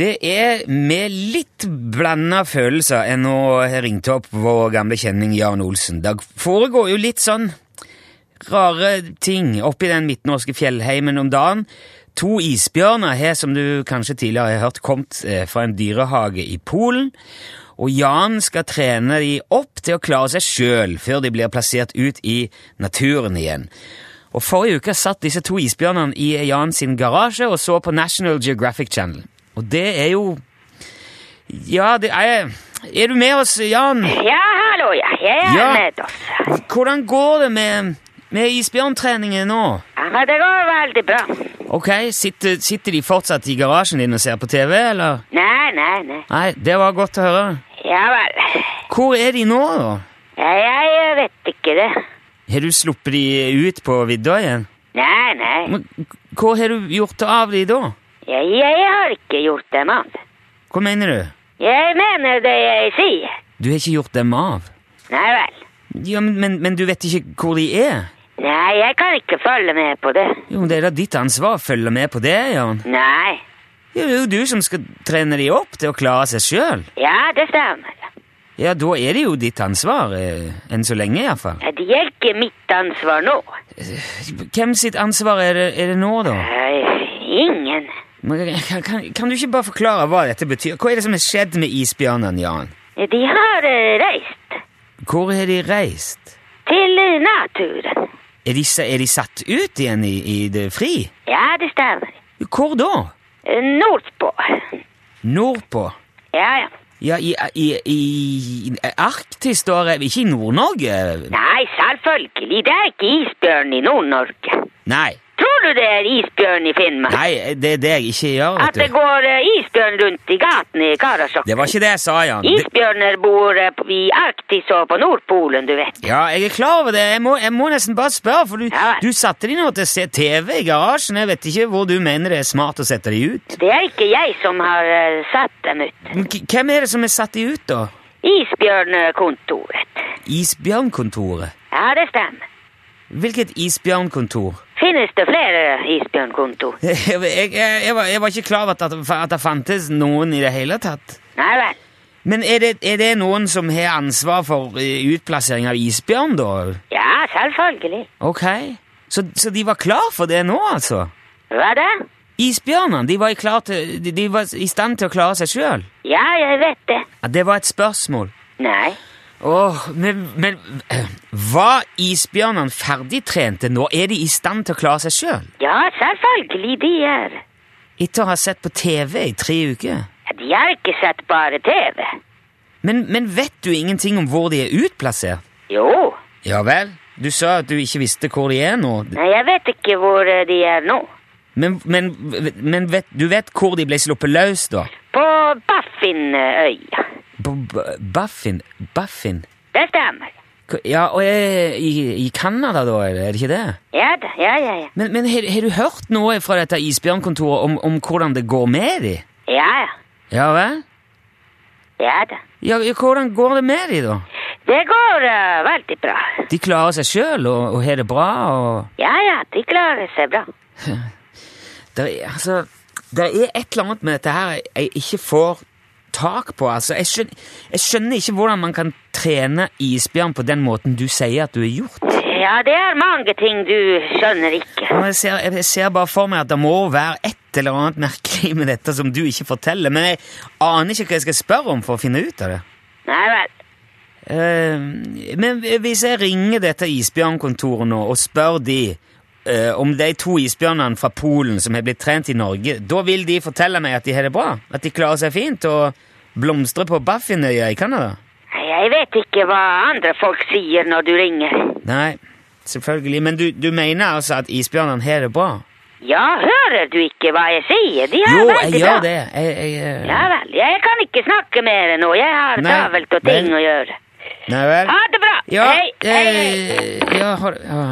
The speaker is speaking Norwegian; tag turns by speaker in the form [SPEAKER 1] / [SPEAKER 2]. [SPEAKER 1] Det er med litt blanda følelser jeg nå har ringt opp vår gamle kjenning Jan Olsen. Det foregår jo litt sånn rare ting oppi den midtnorske fjellheimen om dagen. To isbjørner har, som du kanskje tidligere har hørt, kommet eh, fra en dyrehage i Polen. Og Jan skal trene de opp til å klare seg sjøl før de blir plassert ut i naturen igjen. Og Forrige uke satt disse to isbjørnene i Jan sin garasje og så på National Geographic Channel. Og det er jo Ja, det er Er du med oss, Jan?
[SPEAKER 2] Ja, hallo, ja. Jeg er
[SPEAKER 1] Ja.
[SPEAKER 2] med oss.
[SPEAKER 1] Hvordan går det med, med isbjørntreningen nå?
[SPEAKER 2] Ja, men det går veldig bra.
[SPEAKER 1] Ok, sitter, sitter de fortsatt i garasjen din og ser på TV, eller?
[SPEAKER 2] Nei, nei, nei.
[SPEAKER 1] Nei, det var godt å høre.
[SPEAKER 2] Ja vel.
[SPEAKER 1] Hvor er de nå, da?
[SPEAKER 2] Ja, jeg vet ikke det.
[SPEAKER 1] Har du sluppet de ut på vidda igjen?
[SPEAKER 2] Nei, nei.
[SPEAKER 1] Men hva har du gjort av de da?
[SPEAKER 2] Jeg, jeg har ikke gjort dem av.
[SPEAKER 1] Hva mener du?
[SPEAKER 2] Jeg mener det jeg sier.
[SPEAKER 1] Du har ikke gjort dem av.
[SPEAKER 2] Nei vel.
[SPEAKER 1] Ja, men, men, men du vet ikke hvor de er?
[SPEAKER 2] Nei, jeg kan ikke følge med på det.
[SPEAKER 1] Jo, men det er da ditt ansvar å følge med på det, Jan.
[SPEAKER 2] Nei.
[SPEAKER 1] Ja, det er jo du som skal trene de opp til å klare seg sjøl.
[SPEAKER 2] Ja, det stemmer.
[SPEAKER 1] Ja, da er det jo ditt ansvar. eh, Enn så lenge, iallfall.
[SPEAKER 2] Ja, Det er ikke mitt ansvar nå.
[SPEAKER 1] Hvem sitt ansvar er det, er det nå, da?
[SPEAKER 2] Nei, Eh, Ingen.
[SPEAKER 1] Men Kan, kan, kan du ikke bare forklare hva dette betyr? Hva er det som har skjedd med isbjørnene, Jan?
[SPEAKER 2] De har eh, reist
[SPEAKER 1] Hvor har de reist?
[SPEAKER 2] til naturen.
[SPEAKER 1] Er de, sa- er de satt ut igjen i, i det fri?
[SPEAKER 2] Ja, det stemmer.
[SPEAKER 1] Hvor da?
[SPEAKER 2] Eh, Nordpå.
[SPEAKER 1] Nordpå?
[SPEAKER 2] Ja, ja.
[SPEAKER 1] Ja, i, i, i, i Arktis, da? er vi Ikke i Nord-Norge?
[SPEAKER 2] Nei, selvfølgelig. Det er ikke isbjørn i Nord-Norge.
[SPEAKER 1] Nei.
[SPEAKER 2] Tror du det er isbjørn i Finnmark?
[SPEAKER 1] Nei, det er det jeg ikke gjør,
[SPEAKER 2] At det
[SPEAKER 1] vet du.
[SPEAKER 2] går eh, isbjørn rundt i gatene i Karasjok?
[SPEAKER 1] Det var ikke det jeg sa, Jan. Det,
[SPEAKER 2] Isbjørner bor eh, på- i Arktis og på Nordpolen, du vet.
[SPEAKER 1] ja, jeg er klar over det. Jeg må, jeg må nesten bare spørre, for du,
[SPEAKER 2] Ja.
[SPEAKER 1] du satte de nå til å se TV i garasjen. Jeg vet ikke hvor du mener det er smart å sette de ut.
[SPEAKER 2] Det er ikke jeg som har eh, satt dem ut.
[SPEAKER 1] Men k- hvem er det som har satt de ut, da?
[SPEAKER 2] Isbjørnkontoret.
[SPEAKER 1] Isbjørnkontoret?
[SPEAKER 2] Ja, det stemmer.
[SPEAKER 1] Hvilket isbjørnkontor?
[SPEAKER 2] Finnes det flere isbjørnkontor?
[SPEAKER 1] Jeg, jeg, jeg, var, jeg var ikke klar over at, det- at det fantes noen i det hele tatt.
[SPEAKER 2] Nei vel.
[SPEAKER 1] Men er det, er det noen som har ansvar for eh, utplassering av isbjørn, da?
[SPEAKER 2] Ja, selvfølgelig.
[SPEAKER 1] Ok. Så, så de var klar for det nå, altså?
[SPEAKER 2] Hva da?
[SPEAKER 1] Isbjørnene de var, i klar til, de, de var i stand til å klare seg sjøl?
[SPEAKER 2] Ja, jeg vet det.
[SPEAKER 1] Ja, det var et spørsmål.
[SPEAKER 2] Nei.
[SPEAKER 1] Åh, men, men eh, Var isbjørnene ferdigtrente nå? Er de i stand til å klare seg sjøl?
[SPEAKER 2] Ja, selvfølgelig de er.
[SPEAKER 1] Etter å ha sett på TV i tre uker?
[SPEAKER 2] Ja, De har ikke sett bare TV.
[SPEAKER 1] Men, men vet du ingenting om hvor de er utplassert?
[SPEAKER 2] Jo.
[SPEAKER 1] Ja vel? Du sa at du ikke visste hvor de er nå.
[SPEAKER 2] Nei, jeg vet ikke hvor eh, de er nå.
[SPEAKER 1] Men, men, men vet, du vet hvor de ble sluppet løs, da?
[SPEAKER 2] På Baffinøya.
[SPEAKER 1] B b- Baffin? Baffin?
[SPEAKER 2] Det stemmer.
[SPEAKER 1] Hva- Ja, og eh, i, i Canada, da? Er det- er det ikke det?
[SPEAKER 2] Ja da, ja, ja, ja.
[SPEAKER 1] Men, men har, har du hørt noe fra dette isbjørnkontoret om, om hvordan det går med de?
[SPEAKER 2] Ja, ja.
[SPEAKER 1] Ja vel?
[SPEAKER 2] Ja da.
[SPEAKER 1] Ja, ja, hvordan går det med de, da?
[SPEAKER 2] Det går eh, veldig bra.
[SPEAKER 1] De klarer seg sjøl og, og har det bra og
[SPEAKER 2] Ja, ja, de klarer seg bra.
[SPEAKER 1] Det er, altså, det er et eller annet med dette her jeg ikke får tak på. Altså, jeg, skjønner, jeg skjønner ikke hvordan man kan trene isbjørn på den måten du sier at du har gjort.
[SPEAKER 2] Ja, det er mange ting du skjønner ikke.
[SPEAKER 1] Men Jeg ser, jeg ser bare for meg at det må være et eller annet merkelig med dette som du ikke forteller, men jeg aner ikke hva jeg skal spørre om for å finne ut av det.
[SPEAKER 2] Nei vel.
[SPEAKER 1] Eh, men hvis jeg ringer dette isbjørnkontoret nå og spør de eh, om de to isbjørnene fra Polen som har blitt trent i Norge, da vil de fortelle meg at de har det bra? At de klarer seg fint og blomstrer på Baffinøya i Canada?
[SPEAKER 2] Nei, Jeg vet ikke hva andre folk sier når du ringer.
[SPEAKER 1] Nei, selvfølgelig. Men du, du mener altså at isbjørnene har det bra?
[SPEAKER 2] Ja, hører du ikke hva jeg sier? De har
[SPEAKER 1] Jo,
[SPEAKER 2] veldig
[SPEAKER 1] jeg
[SPEAKER 2] bra.
[SPEAKER 1] gjør det. Jeg, jeg,
[SPEAKER 2] Ja
[SPEAKER 1] eh,
[SPEAKER 2] vel, jeg kan ikke snakke mer nå. Jeg har
[SPEAKER 1] Nei,
[SPEAKER 2] travelt og ting
[SPEAKER 1] vel.
[SPEAKER 2] å gjøre.
[SPEAKER 1] Nei vel?
[SPEAKER 2] Ha det bra!
[SPEAKER 1] Ja,
[SPEAKER 2] hei, hei, hei.
[SPEAKER 1] eh, ja, har, ja.